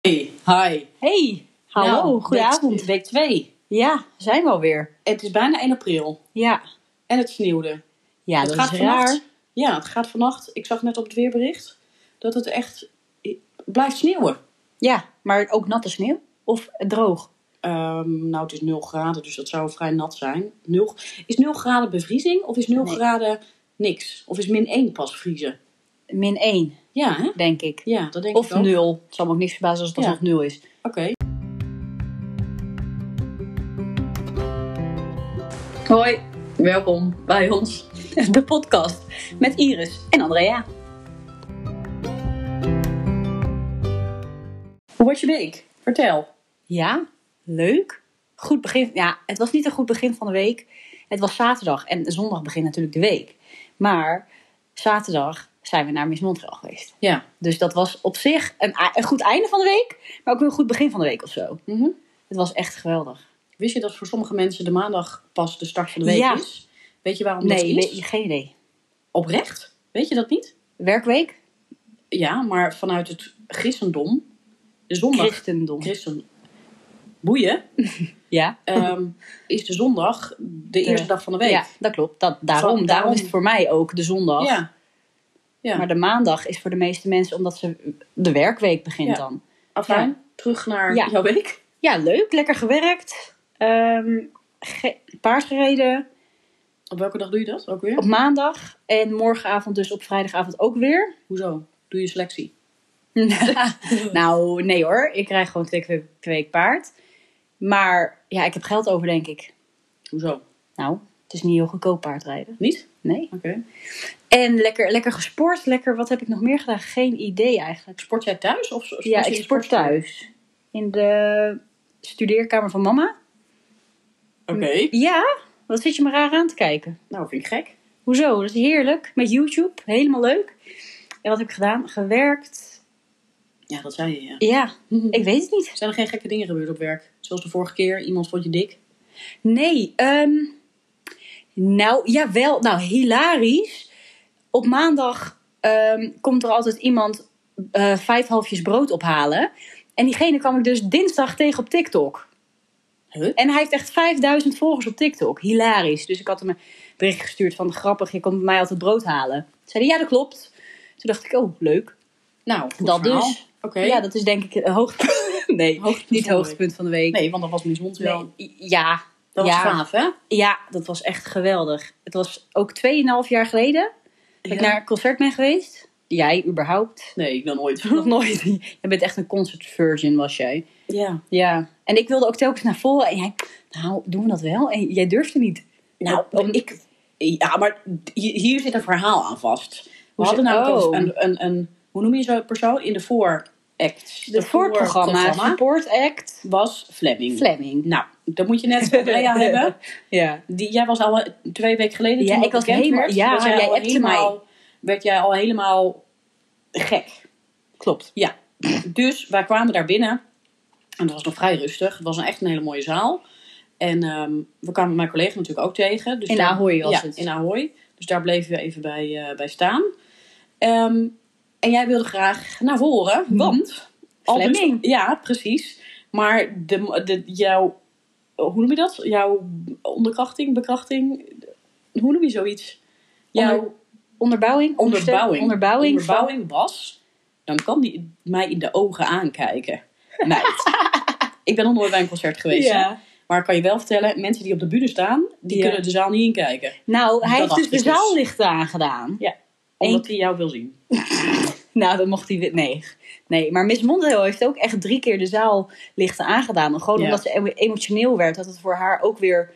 Hey, hi. Hey, hallo, Nou, goedenavond. Week, week 2. Ja, zijn we alweer. Het is bijna 1 april Ja, en het sneeuwde. ja het dat gaat is vannacht. raar. Ja, het gaat vannacht. Ik zag net op het weerbericht dat het echt eh, blijft sneeuwen. Ja, maar ook natte sneeuw of droog. Ehm, nou, het is 0 graden, dus dat zou vrij nat zijn. 0, is 0 graden bevriezing of is 0 Nee. graden niks? Of is min 1 pas vriezen? Min 1, Ja, hè? denk ik. Ja, dat denk Of ik ook. 0. Het zal me ook niks verbazen als het Ja. nog 0 is. Oké. Hoi, welkom bij ons, de podcast met Iris en Andrea. Hoe was je week? Vertel. Ja, leuk. Goed begin. Ja, het was niet een goed begin van de week. Het was zaterdag en zondag begint natuurlijk de week. Maar zaterdag zijn we naar Miss Montreal geweest. Ja. Dus dat was op zich een, a- een goed einde van de week, maar ook weer een goed begin van de week of zo. Mhm. Het was echt geweldig. Wist je dat voor sommige mensen de maandag pas de start van de week Ja. is? Weet je waarom dat Nee, is? nee, geen idee. Oprecht? Weet je dat niet? Werkweek? Ja, maar vanuit het christendom, de zondag, Christendom. christen, boeien, Ja. ehm, is de zondag de, eerste dag van de week. ja, dat klopt. Dat, daarom, Van- daarom is daarom. het voor mij ook de zondag. ja. Ja. Maar de maandag is voor de meeste mensen omdat ze de werkweek begint Ja. dan. Afijn, Ja. terug naar Ja. jouw week. Ja, leuk. Lekker gewerkt. Ehm, ge- paard gereden Op welke dag doe je dat ook weer? op maandag. En morgenavond dus op vrijdagavond ook weer. Hoezo? Doe je selectie? nou, nee hoor. Ik krijg gewoon twee keer per week paard. Maar ja, ik heb geld over denk ik. Hoezo? Nou, het is niet heel goedkoop paardrijden. Niet? Nee. Oké. En lekker, lekker gesport. Lekker, wat heb ik nog meer gedaan? Geen idee eigenlijk. Sport jij thuis? Of sport Ja, je in ik de sport sportschool? thuis. In de studeerkamer van mama. Oké. Ja? Wat zit je me raar aan te kijken? Nou, vind ik gek. Hoezo? Dat is heerlijk. Met YouTube. Helemaal leuk. En wat heb ik gedaan? Gewerkt. Ja, dat zei je, ja. Ja, ik weet het niet. Zijn er geen gekke dingen gebeurd op werk? Zoals de vorige keer, iemand vond je dik. Nee, ehm nou jawel, nou hilarisch. Op maandag ehm, komt er altijd iemand eh, vijf halfjes brood ophalen. En diegene kwam ik dus dinsdag tegen op TikTok. Huh? En hij heeft echt 5000 volgers op TikTok. Hilarisch. Dus ik had hem een bericht gestuurd van grappig, je komt bij mij altijd brood halen. Toen Zei hij, ja dat klopt. Toen dacht ik, oh leuk. Nou, goed Dat verhaal. dus. Oké. Ja, dat is denk ik een hoogtepunt. Nee, Hoogtepunt niet van de hoogtepunt van de week. Nee, want dat was Miss Montreal. Nee, Ja. Dat ja. was gaaf, hè? Ja, dat was echt geweldig. Het was ook 2,5 jaar geleden dat ik Ja. naar een concert ben geweest. Jij, überhaupt. Nee, ik dan nooit. Nog nooit. Je bent echt een concert virgin, was jij. ja. Ja. En ik wilde ook telkens naar voren. En jij, nou, doen we dat wel? En jij durfde niet. Nou, Om- ik... Ja, maar hi- hier zit een verhaal aan vast. We Hoe hadden zit- namelijk oh. een, een, een... Hoe noem je zo'n persoon? In de voor act. De voorprogramma, support act, was Fleming. Fleming. Nou, dat moet je net van Andrea hebben. Ja. Die, jij was al eh, twee weken geleden Ja, toen dat ik was bekend helemaal- werd, ja, was jij jij al appte helemaal, werd jij al helemaal gek. Klopt. Ja, dus wij kwamen daar binnen. En dat was nog vrij rustig. Het was een echt een hele mooie zaal. En ehm, we kwamen mijn collega natuurlijk ook tegen. Dus In daar- Ahoy was ja, het. in Ahoy. Dus daar bleven we even bij, eh, bij staan. Ehm, en jij wilde graag naar voren, Hmm. want... al dus- Fleming. ja, precies. Maar de, de, jouw... eh, Hoe noem je dat? Jouw onderkrachting, bekrachting? Hoe noem je zoiets? Jouw Onder- Onderbouwing? onderste- onderbouwing, Onderbouwing. van- onderbouwing was, dan kan die mij in de ogen aankijken. Meid. ik ben nog nooit bij een concert geweest. hè. Ja. Maar ik kan je wel vertellen, mensen die op de bühne staan, die Ja. kunnen de zaal niet inkijken. Nou, hij Dat heeft dus de dacht ik dus. zaallichten aangedaan. Omdat die jou wil zien. Nou, dat mocht hij... wi- Nee. nee. Maar Miss Mondeo heeft ook echt drie keer de zaal lichten aangedaan. En Gewoon Ja. omdat ze emo- emotioneel werd. Dat het voor haar ook weer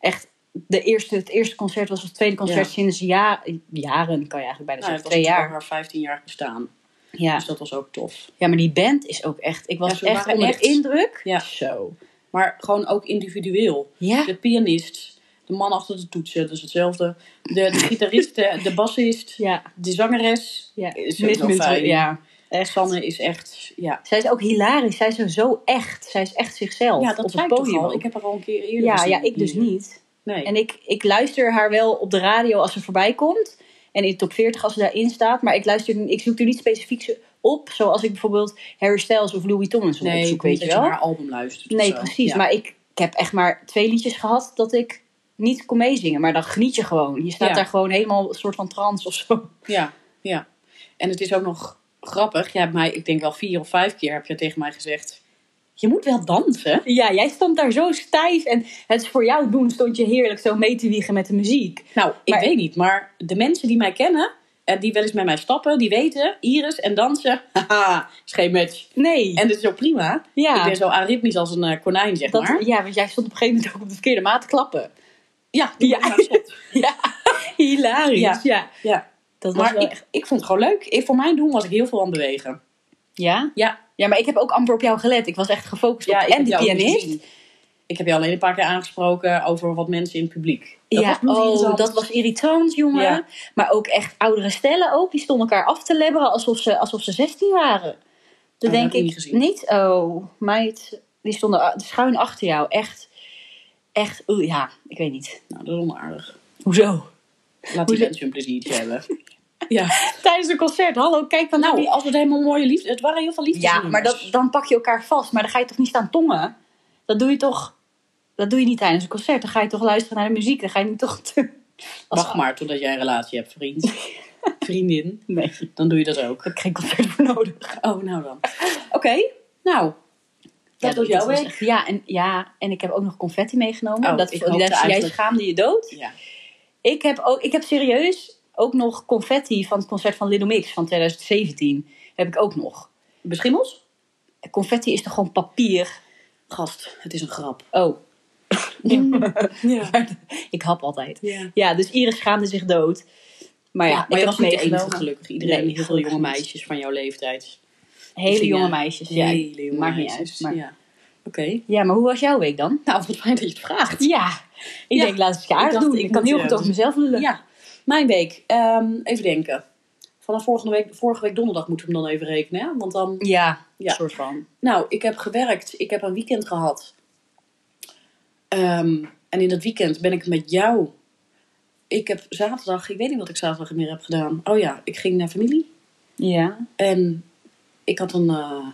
echt... De eerste, het eerste concert was of het tweede concert Ja. sinds ja, jaren, kan je eigenlijk Nou, dat bijna zeggen. was Twee natuurlijk jaar. ook haar 15 jaar bestaan. Ja. Dus dat was ook tof. ja, maar die band is ook echt... Ja, Ik was ze echt waren onder echt- de indruk. Ja. Zo. Maar gewoon ook individueel. Ja. De pianist, de man achter de toetsen, dat is hetzelfde. De, de gitarist, de, de bassist, Ja. de zangeres. ja. Is Miss ook wel Mondeo, fijn. Ja. Echt. Sanne is echt, ja. Zij is ook hilarisch. Zij is zo- zo echt. Zij is echt zichzelf. Ja, dat op zei het ik toch podium. al. Ik heb haar al een keer eerder ja, gezien. ja, ik dus hier. niet. Nee. En ik, ik luister haar wel op de radio als ze voorbij komt. En in de top 40 als ze daarin staat. Maar ik, luister, ik zoek er niet specifiek ze op. Zoals ik bijvoorbeeld Harry Styles of Louis Tomlinson Nee, opzoek, ik Dus weet dat weet je je wel. naar haar album luistert. of Nee, zo. precies. Ja. Maar ik, ik heb echt maar twee liedjes gehad dat ik niet kon meezingen. Maar dan geniet je gewoon. Je staat Ja. daar gewoon helemaal een soort van trance of zo. Ja, ja. En het is ook nog grappig. Je hebt mij, ik denk wel vier of vijf keer heb je tegen mij gezegd... Je moet wel dansen. Ja, jij stond daar zo stijf. En het is voor jou doen stond je heerlijk zo mee te wiegen met de muziek. Nou, ik Maar- weet niet. Maar de mensen die mij kennen... en die wel eens met mij stappen, die weten... Iris en dansen, haha, is geen match. Nee. En dat is ook prima. ja. Ik ben zo aritmisch als een eh, konijn, zeg maar. Dat, ja, want jij stond op een gegeven moment ook op de verkeerde maat te klappen. Ja, die Ja. moet ik nou stoppen. Hilarisch. Ja. ja. Dat was Maar wel echt- ik, ik vond het gewoon leuk. Ik, voor mijn doen was ik heel veel aan het bewegen. Ja? Ja. Ja, maar ik heb ook amper op jou gelet. Ik was echt gefocust op ik en de heb jou ook pianist. gezien. Ik heb je alleen een paar keer aangesproken over wat mensen in het publiek. ja, was misschien oh, zelfs- dat was irritant, jongen. Ja. Maar ook echt oudere stellen ook. Die stonden elkaar af te lebberen alsof ze, alsof ze 16 waren. dat Dat denk heb ik ik niet gezien. niet. Oh, meid. Die stonden a- schuin achter jou. Echt, echt. Oeh, ja, ik weet niet. Nou, dat is onaardig. Hoezo? Laat die Hoezo? mensen hun pleziertje hebben. Ja. Tijdens een concert. Hallo, kijk dan Nou, naar die... als het helemaal mooie liefde... Het waren heel veel liefdes. Ja, maar dat, dan pak je elkaar vast. Maar dan ga je toch niet staan tongen? Dat doe je toch... Dat doe je niet tijdens een concert. Dan ga je toch luisteren naar de muziek. Dan ga je niet toch... Wacht maar totdat jij een relatie hebt, vriend. Vriendin. Nee, daar Dan doe je dat ook. heb ik geen concert voor nodig. Oh, nou dan. Oké. Nou, dat was jouw was week. echt- Ja en, ja, en ik heb ook nog confetti meegenomen. Oh, dat ik is voor die hoopte laatste, jij eigenlijk- schaamde je dood. Ja. Ik heb, ook, ik heb serieus ook nog confetti van het concert van Little Mix van 2017. Heb ik ook nog. Beschimmels? Confetti is toch gewoon papier? Gast, het is een grap. Oh, Ja. ik hap altijd. ja. Ja, dus Iris schaamde zich dood. Maar ja, Ja, maar ik je heb was niet de enige, meegenomen. gelukkig. Iedereen, Nee, heel veel gelukkig jonge niet. meisjes van jouw leeftijd. Hele jonge Ja. meisjes. Ja, Hele jonge maakt niet meisjes. uit. Maar, ja. Ja. Oké. maar hoe was jouw week dan? Nou, wat fijn dat je het vraagt. Ja, ik Ja. denk laat eens aardig Ik dacht, doen. ik Ik dus- kan moet, heel eh, goed over mezelf lullen. Ja, mijn week. Ehm, even denken. Vanaf vorige week, vorige week donderdag moeten we hem dan even rekenen. Hè? Want dan, ja, Ja. soort van. nou, ik heb gewerkt. Ik heb een weekend gehad. Ehm, en in dat weekend ben ik met jou. Ik heb zaterdag, ik weet niet wat ik zaterdag meer heb gedaan. Oh ja, ik ging naar familie. Ja. En ik had een eh,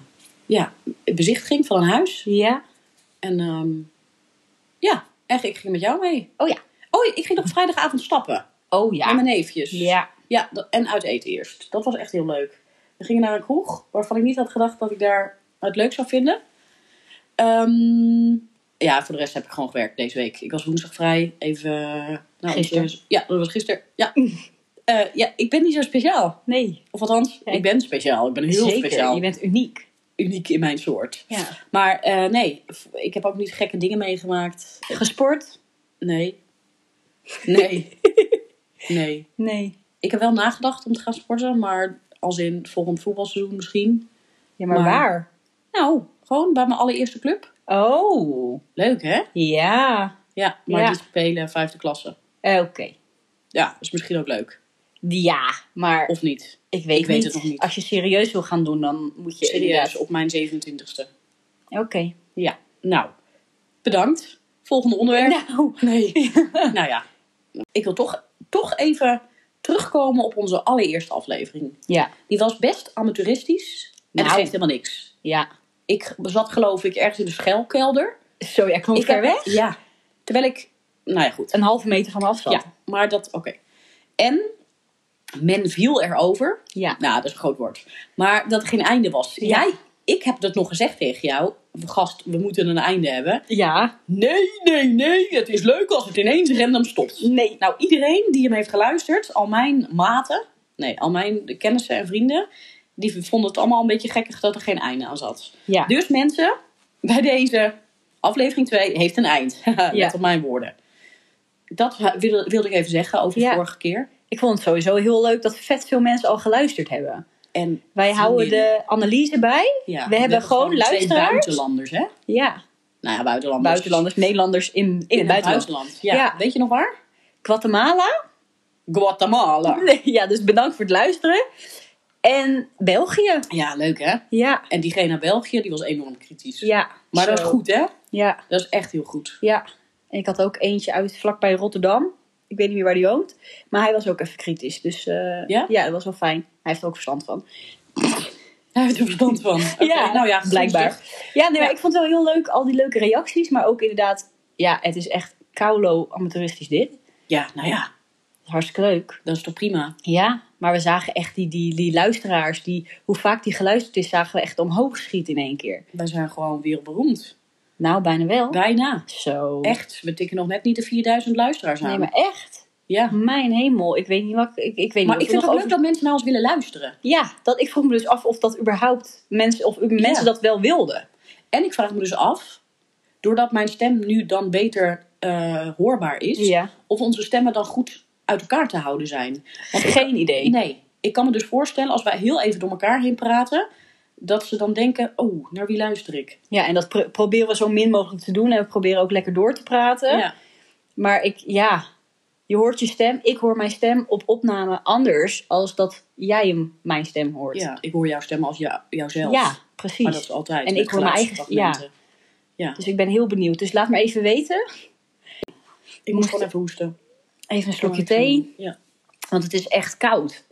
ja, bezichtiging van een huis. Ja. En ehm, ja, echt, ik ging met jou mee. Oh ja. Oh, ik ging nog vrijdagavond stappen. Oh Met ja. mijn neefjes. Ja. Ja, dat- en uit eten eerst. Dat was echt heel leuk. We gingen naar een kroeg waarvan ik niet had gedacht dat ik daar het leuk zou vinden. Ehm, ja, voor de rest heb ik gewoon gewerkt deze week. Ik was woensdag vrij. Even. eh, Nou, Gisteren. dus- ja, dat was gisteren. Ja. Eh, ja, ik ben niet zo speciaal. Nee. Of althans, Ja, ik ik- ben speciaal. Ik ben heel Zeker. speciaal. Je bent uniek. Uniek in mijn soort. Ja. Maar eh, nee, f- ik heb ook niet gekke dingen meegemaakt. Gesport? Nee. Nee. nee. Nee. Ik heb wel nagedacht om te gaan sporten, maar als in volgend voetbalseizoen misschien. Ja, Maar- maar waar? Nou, gewoon bij mijn allereerste club. Oh. Leuk hè? Ja. Ja, maar Ja. die spelen vijfde klasse. Eh, Oké. Ja, is misschien ook leuk. Ja, maar Of niet. ik weet, ik weet niet. het nog niet. Als je serieus wil gaan doen, dan moet je Serieus, inderdaad- op mijn 27e. Oké. Ja, nou. Bedankt. Volgende onderwerp. Nou. Nee. nou ja. Ik wil toch, toch even terugkomen op onze allereerste aflevering. Ja. Die was best amateuristisch. En dat Nou. geeft helemaal niks. Ja. Ik zat geloof ik ergens in de schelkelder. Zo, jij kwam Ik ver heb- weg? Ja. Terwijl ik... Nou ja, goed. Een halve meter van me af zat. Ja, maar dat... Oké. En men viel erover. Ja. Nou, dat is een groot woord. Maar dat er geen einde was. Ja. Jij... Ik heb dat nog gezegd tegen jou. Gast, we moeten een einde hebben. Ja. Nee, nee, nee. Het is leuk als het ineens random stopt. Nee. Nou, iedereen die hem heeft geluisterd, al mijn maten, nee, al mijn kennissen en vrienden, die vonden het allemaal een beetje gekkig dat er geen einde aan zat. Ja. Dus mensen, bij deze aflevering 2 heeft een eind. Met Ja. op mijn woorden. Dat wil- wilde ik even zeggen over de Ja. vorige keer. Ik vond het sowieso heel leuk dat vet veel mensen al geluisterd hebben. En Wij houden de analyse bij. ja, hebben gewoon Twee luisteraars. buitenlanders, hè? Ja. Nou ja, buitenlanders. Buitenlanders, Nederlanders in, in, In het buitenland. Ja. Ja. Weet je nog waar? Guatemala. Guatemala. Ja, dus bedankt voor het luisteren. En België. Ja, leuk hè? Ja. En diegene uit België, die was enorm kritisch. Ja. Maar dat Zo. is goed hè? Ja. Dat is echt heel goed. Ja, en ik had ook eentje uit vlakbij Rotterdam. Ik weet niet meer waar die woont. Maar hij was ook even kritisch. Dus eh, Ja? ja? dat was wel fijn. Hij heeft er ook verstand van. Daar heb je er verstand van. Oké, Ja, nou ja, soms blijkbaar. toch. Ja, nee, maar Ja. ik vond het wel heel leuk, al die leuke reacties. Maar ook inderdaad, ja, het is echt kaulo amateuristisch dit. Ja, nou ja, Hartstikke leuk. dat is toch prima. Ja, maar we zagen echt die, die, die luisteraars, die, hoe vaak die geluisterd is, zagen we echt omhoog schieten in één keer. Wij zijn gewoon wereldberoemd. Nou, bijna wel. Bijna. Zo. Echt, we tikken nog net niet de 4000 luisteraars aan. Nee, maar echt? Ja. Mijn hemel, ik weet niet wat... Ik, ik weet Maar niet ik vind het ook ook leuk dat mensen naar ons willen luisteren. Ja, dat, ik vroeg me dus af of dat überhaupt mensen, of mensen Ja. dat wel wilden. En ik vraag me dus af, doordat mijn stem nu dan beter eh, hoorbaar Dus is, of onze stemmen dan goed uit elkaar te houden zijn. Want ik- Geen idee. nee, ik kan me dus voorstellen als wij heel even door elkaar heen praten, dat ze dan denken, oh, naar wie luister ik? Ja, en dat pro- proberen we zo min mogelijk te doen. En we proberen ook lekker door te praten. Ja. Maar ik, ja, je hoort je stem. Ik hoor mijn stem op opname anders als dat jij hem, mijn stem hoort. ja, ik hoor jouw stem als jou, jouzelf. Ja, precies. Maar dat is altijd. En met ik hoor mijn eigen- geluidsfragmenten. Dus ik ben heel benieuwd. Dus laat me even weten. Ik moet gewoon even hoesten. Even een slokje thee. Ja. Want het is echt koud.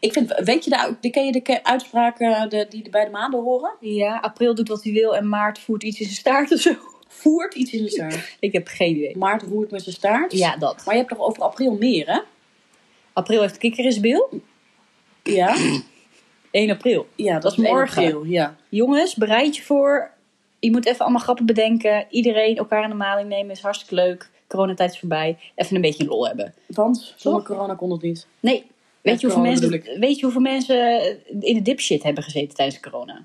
Ik vind, weet je de, de, ken je de ke- uitspraken de, die bij de maanden horen? Ja, april doet wat hij wil en maart voert iets in zijn staart of zo. Voert iets in de staart. Ik heb geen idee. Maart roert met zijn staart. Ja, dat. Maar je hebt toch over april meer, hè? April heeft kikker in zijn bil. Ja. 1 april. Ja, dat, Dat is is morgen. april, ja. Jongens, bereid je voor. Je moet even allemaal grappen bedenken. Iedereen elkaar in de maling nemen is hartstikke leuk. Coronatijd is voorbij. Even een beetje lol hebben. Want zonder Toch? corona kon dat niet. Nee, weet je, hoeveel corona mensen, bedoel weet je hoeveel mensen in de dipshit hebben gezeten tijdens corona?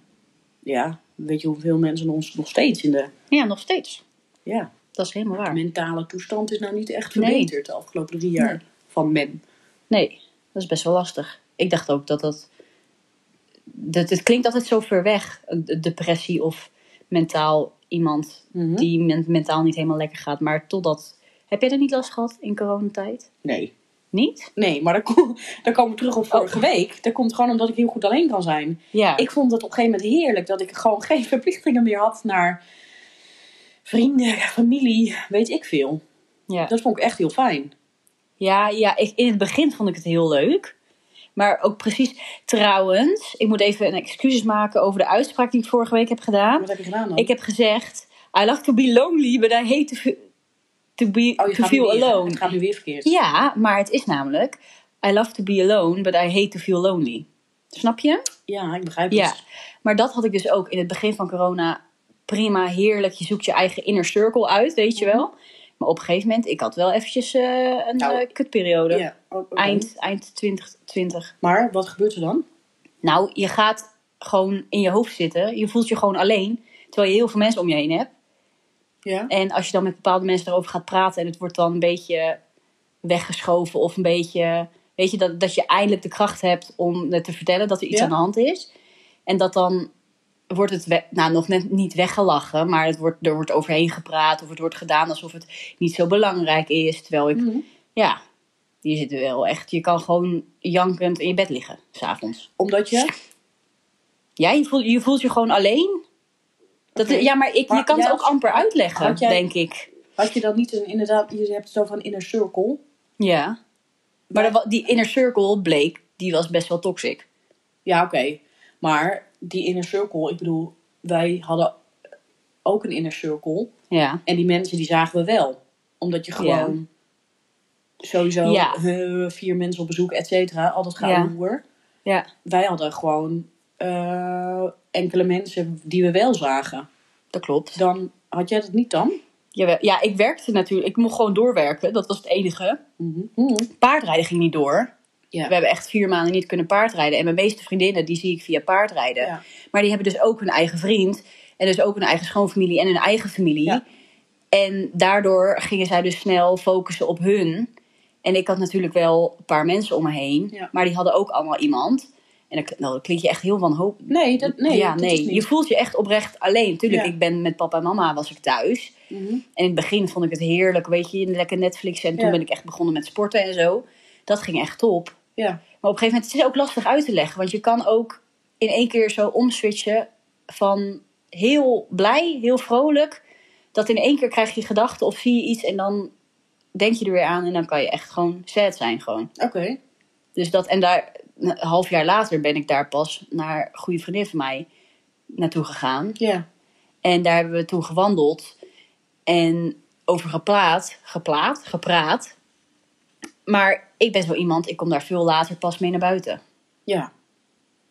Ja, weet je hoeveel mensen ons nog steeds in de... Ja, nog steeds. Ja, Dat is helemaal waar. mentale toestand is nou niet echt Nee. verbeterd de afgelopen drie jaar. Van men. Nee, dat is best wel lastig. Ik dacht ook dat dat... dat het klinkt altijd zo ver weg. de- Depressie of mentaal iemand Mhm. die men- mentaal niet helemaal lekker gaat. Maar totdat... Heb jij er niet last gehad in coronatijd? Nee. Niet? Nee, maar daar, kom, daar komen we terug Oh. op vorige week. Dat komt gewoon omdat ik heel goed alleen kan zijn. Ja. Ik vond het op een gegeven moment heerlijk dat ik gewoon geen verplichtingen meer had naar vrienden, familie, weet ik veel. ja. Dat vond ik echt heel fijn. Ja, ja ik, in het begin vond ik het heel leuk. Maar ook precies, trouwens, ik moet even een excuses maken over de uitspraak die ik vorige week heb gedaan. Wat heb je gedaan dan? Ik heb gezegd, I love to be lonely, but I hate to, fe- to, be, oh, je to gaat nu feel weer- alone. Het gaat nu weer verkeerd. Ja, maar het is namelijk, I love to be alone, but I hate to feel lonely. Snap je? Ja, ik begrijp het. Ja, maar dat had ik dus ook in het begin van corona. Prima, heerlijk. Je zoekt je eigen inner circle uit, weet je Mhm. wel. Maar op een gegeven moment, ik had wel eventjes eh, een Nou, eh, kutperiode. Ja, o- oké. Eind, eind 2020. Maar wat gebeurt er dan? Nou, je gaat gewoon in je hoofd zitten. Je voelt je gewoon alleen. Terwijl je heel veel mensen om je heen hebt. Ja. En als je dan met bepaalde mensen erover gaat praten. En het wordt dan een beetje weggeschoven. Of een beetje... Weet je, dat, dat je eindelijk de kracht hebt om het te vertellen dat er iets Ja. aan de hand is. En dat dan wordt het, we- nou nog net niet weggelachen. Maar het wordt, er wordt overheen gepraat. Of het wordt gedaan alsof het niet zo belangrijk is. Terwijl Mm. ik Mhm. ja, die zit wel echt. Je kan gewoon jankend in je bed liggen, s'avonds. Omdat je... Ja, je voelt je, voelt je gewoon alleen. Dat, Oké. Ja, maar, ik, Maar je kan jij het ook als- amper uitleggen, had jij- denk ik. Had je dan niet een, inderdaad... Je hebt zo van inner circle. Ja. Maar dat wa- die inner circle bleek, die was best wel toxic. Ja, oké. Maar die inner circle, ik bedoel... Wij hadden ook een inner circle. Ja. En die mensen, die zagen we wel. Omdat je gewoon... Sowieso Ja. eh, vier mensen op bezoek, et cetera. Al dat gaat Ja. hoer. Ja, Wij hadden gewoon eh, enkele mensen die we wel zagen. dat klopt. Dan had jij dat niet dan? Jawel. Ja, ik werkte natuurlijk. Ik mocht gewoon doorwerken. Dat was het enige. Paardrijden ging niet door. Mhm. Ja. We hebben echt vier maanden niet kunnen paardrijden. En mijn meeste vriendinnen, die zie ik via paardrijden. Ja. Maar die hebben dus ook hun eigen vriend. En dus ook hun eigen schoonfamilie en hun eigen familie. Ja. En daardoor gingen zij dus snel focussen op hun. En ik had natuurlijk wel een paar mensen om me heen. Ja. Maar die hadden ook allemaal iemand. En dat, nou, dat klinkt je echt heel wanhopig. Nee, dat, nee, ja, dat nee. is niet. Je voelt je echt oprecht alleen. Tuurlijk, Ja. ik ben met papa en mama was ik thuis. Mhm. En in het begin vond ik het heerlijk, weet je, lekker Netflix. En toen Ja. ben ik echt begonnen met sporten en zo. Dat ging echt top. Ja. Maar op een gegeven moment het is het ook lastig uit te leggen. Want je kan ook in één keer zo omswitchen van heel blij, heel vrolijk. Dat in één keer krijg je gedachten of zie je iets en dan denk je er weer aan. En dan kan je echt gewoon sad zijn gewoon. Oké. Dus dat, en daar, een half jaar later ben ik daar pas naar een goede vriendin van mij naartoe gegaan. Ja. En daar hebben we toen gewandeld en over gepraat, geplaat, gepraat. Maar ik ben zo iemand, ik kom daar veel later pas mee naar buiten. Ja.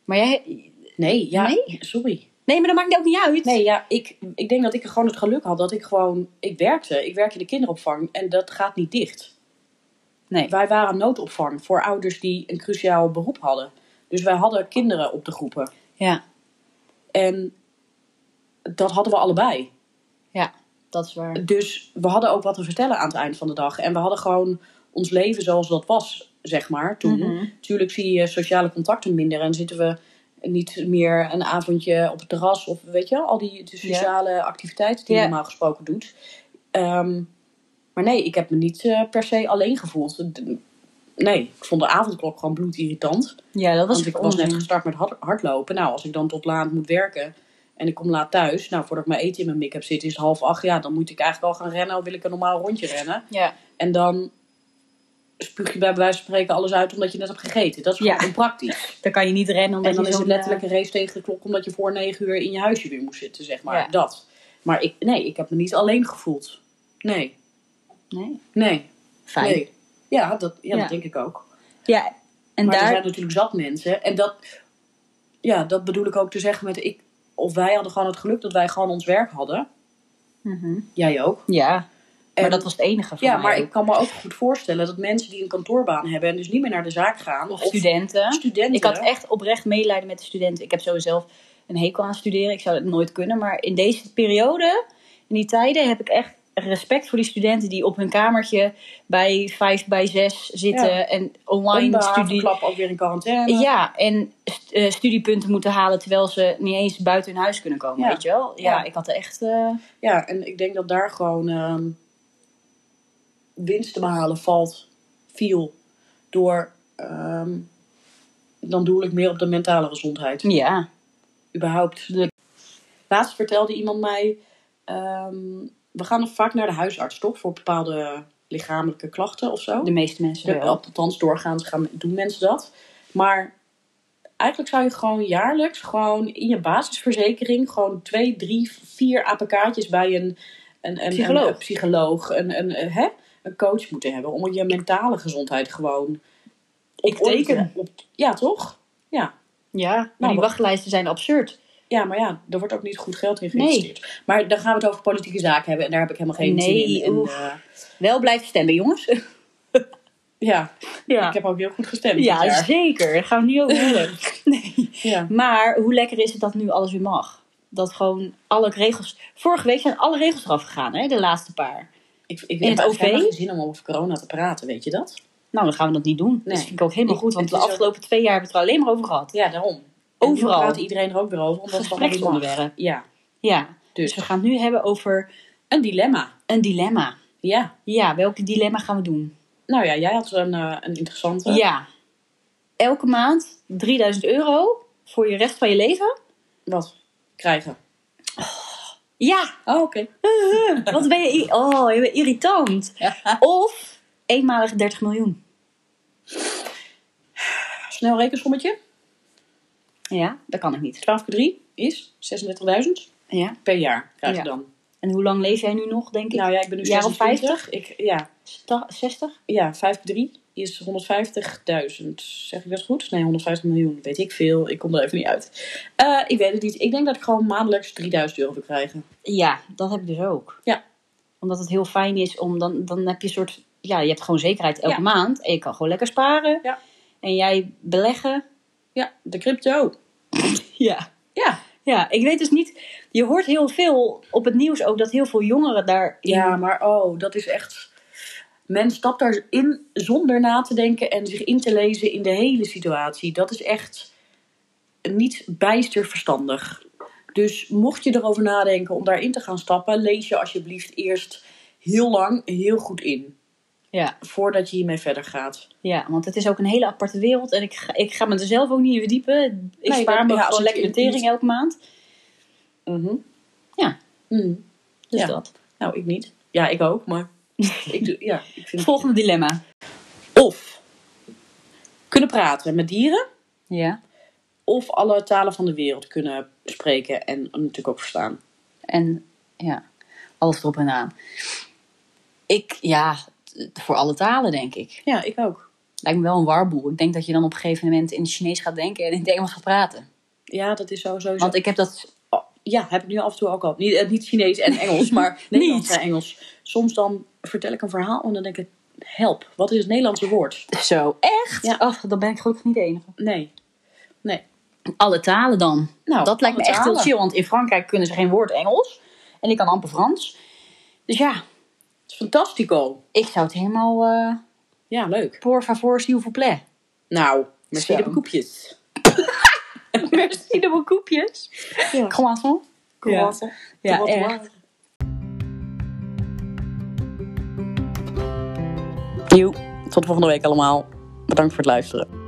Maar jij... Nee, ja. Nee? Sorry. Nee, maar dat maakt ook niet uit. Nee, ja, ik, ik denk dat ik gewoon het geluk had dat ik gewoon... Ik werkte, ik werk in de kinderopvang en dat gaat niet dicht. Nee. Wij waren noodopvang voor ouders die een cruciaal beroep hadden. Dus wij hadden kinderen op de groepen. Ja, En dat hadden we allebei. ja, dat is waar. Dus we hadden ook wat te vertellen aan het eind van de dag. En we hadden gewoon ons leven zoals dat was, zeg maar, toen. Mhm. Natuurlijk zie je sociale contacten minder en zitten we niet meer een avondje op het terras of weet je, wel, al die de sociale activiteiten die Ja. je normaal gesproken doet. Ehm, maar nee, ik heb me niet eh, per se alleen gevoeld. D- Nee, ik vond de avondklok gewoon bloedirritant. Ja, dat was Want ik voor was onzin. net gestart met hard- hardlopen. Nou, als ik dan tot laat moet werken en ik kom laat thuis, nou, voordat ik mijn eten in mijn mik heb zitten, is het half acht. Ja, dan moet ik eigenlijk al gaan rennen, of wil ik een normaal rondje rennen. Ja. En dan spuug je bij wijze van spreken alles uit omdat je net hebt gegeten. Dat is gewoon Ja. onpraktisch. Dan kan je niet rennen omdat En dan je is zo'n, eh, het letterlijk een race tegen de klok omdat je voor negen uur in je huisje weer moest zitten, zeg maar. Ja. Dat. Maar ik, nee, ik heb me niet alleen gevoeld. Nee, eh, nee. nee, Fijn. nee. Ja dat, ja, Ja. dat denk ik ook. Ja, en maar er daar... zijn natuurlijk zat mensen. En dat, ja, dat bedoel ik ook te zeggen met ik. Of wij hadden gewoon het geluk dat wij gewoon ons werk hadden. Mhm. Jij ook. Ja, maar En- dat was het enige van Ja, mij maar ook. ik kan me ook goed voorstellen dat mensen die een kantoorbaan hebben en dus niet meer naar de zaak gaan. Of, Studenten. studenten. Ik had echt oprecht medelijden met de studenten. Ik heb sowieso zelf een hekel aan studeren. Ik zou het nooit kunnen. Maar in deze periode, in die tijden, heb ik echt respect voor die studenten die op hun kamertje bij vijf bij zes zitten Ja. en online Onbaan, studie. klap ook weer in quarantaine. Ja, en st- eh, studiepunten moeten halen terwijl ze niet eens buiten hun huis kunnen komen, Ja. weet je wel? Ja, Ja. ik had er echt... eh, Ja, en ik denk dat daar gewoon ehm, winst te behalen valt, viel, door, ehm, dan doe ik meer op de mentale gezondheid. ja, überhaupt. De- Laatst vertelde iemand mij, ehm, we gaan nog vaak naar de huisarts, toch? Voor bepaalde lichamelijke klachten of zo. de meeste mensen De- wel. althans, doorgaans gaan, doen mensen dat. Maar eigenlijk zou je gewoon jaarlijks gewoon in je basisverzekering gewoon twee, drie, vier APK'tjes bij een, een, een, Psycholoog. een psycholoog, een, een, een, hè? een coach moeten hebben. Om je mentale gezondheid gewoon op Ik orde te- teken. op, ja, toch? Ja. Ja, maar Nou, die wat- wachtlijsten zijn absurd. Ja, maar ja, er wordt ook niet goed geld in geïnvesteerd. Maar dan gaan we het over politieke zaken hebben en daar heb ik helemaal geen Nee, zin in. En, oef. eh, Wel blijven stemmen, jongens. ja, Ja, ik heb ook heel goed gestemd. dit ja jaar. zeker. Daar gaan we niet over hebben. nee. ja. Maar hoe lekker is het dat nu alles weer mag? Dat gewoon alle regels... Vorige week zijn alle regels eraf gegaan, hè? De laatste paar. Ik, ik In heb het eigenlijk OV? helemaal geen zin om over corona te praten, weet je dat? Nou, dan gaan we dat niet doen. Nee. Dat vind ik ook helemaal Ik- goed. Want het de is ook- afgelopen twee jaar hebben we het er alleen maar over gehad. Ja, daarom. En Overal. Nu praat iedereen er ook weer over. Omdat het allemaal niet mag. Gespreksonderwerp. Ja, Ja. Dus we dus gaan het nu hebben over een dilemma. een dilemma. Ja. Ja, welke dilemma gaan we doen? Nou ja, jij had een, eh, een interessante. Ja. Elke maand 3000 euro voor je rest van je leven? Wat? Krijgen. Ja. Oh, oké. Wat ben je... i- Oh, je bent irritant. Of eenmalig 30 miljoen. Snel rekensommetje. Ja, dat kan ik niet. 12 keer 3 is 36.000 Ja. per jaar krijg je Ja. dan. En hoe lang leef jij nu nog, denk ik? Nou ja, ik ben nu Jaar of 56. Ik, ja, Sta- 60? Ja, 5 3 is 150.000. Zeg ik dat goed? Nee, 150 miljoen. Weet ik veel. Ik kom er even niet uit. Eh, ik weet het niet. Ik denk dat ik gewoon maandelijks 3000 euro wil krijgen. Ja, dat heb ik dus ook. Ja. Omdat het heel fijn is om dan, dan heb je een soort. Ja, je hebt gewoon zekerheid elke Ja. maand. En je kan gewoon lekker sparen. Ja. En jij beleggen. Ja, de crypto. Ja. Ja. Ja, ik weet dus niet. Je hoort heel veel op het nieuws ook dat heel veel jongeren daar. Ja, maar oh, dat is echt... Men stapt daarin zonder na te denken en zich in te lezen in de hele situatie. Dat is echt niet bijster verstandig. Dus mocht je erover nadenken om daarin te gaan stappen, lees je alsjeblieft eerst heel lang heel goed in. Ja, voordat je hiermee verder gaat. ja, want het is ook een hele aparte wereld. En ik ga, ik ga me er zelf ook niet in verdiepen. Ik Nee, spaar dat- me ja, als gewoon het lekker de in- in- tering elke maand. Ja. Mhm. Dus Ja. dat. Nou, ik niet. Ja, ik ook, maar ik, doe, ja, ik vind Volgende dilemma. Of kunnen praten met dieren Ja. of alle talen van de wereld kunnen spreken en natuurlijk ook verstaan. En ja, alles erop en aan. Ik, ja, t- voor alle talen denk ik. Ja, ik ook. Lijkt me wel een warboel. Ik denk dat je dan op een gegeven moment in het Chinees gaat denken en in het Engels gaat praten. Ja, dat is sowieso. Want ik heb dat Oh, ja, heb ik nu af en toe ook al. Niet, eh, niet Chinees en Engels, maar Nederlands en Engels. Soms dan vertel ik een verhaal en dan denk ik, help, wat is het Nederlandse woord? zo. Echt? Ja. Ach, dan ben ik gelukkig niet de enige. Nee. Nee. Alle talen dan. Nou, dat lijkt me alle echt heel talen. chill. Want in Frankrijk kunnen ze geen woord Engels. En ik kan amper Frans. Dus ja, Het is fantastico. ik zou het helemaal... eh Ja, leuk. por favor, s'il vous plaît. Nou, Zo. merci de koepjes. Merci de vos koepjes. Ja. Croissant. Croissant. Ja, Croissant. echt. Joe. Tot volgende week allemaal. Bedankt voor het luisteren.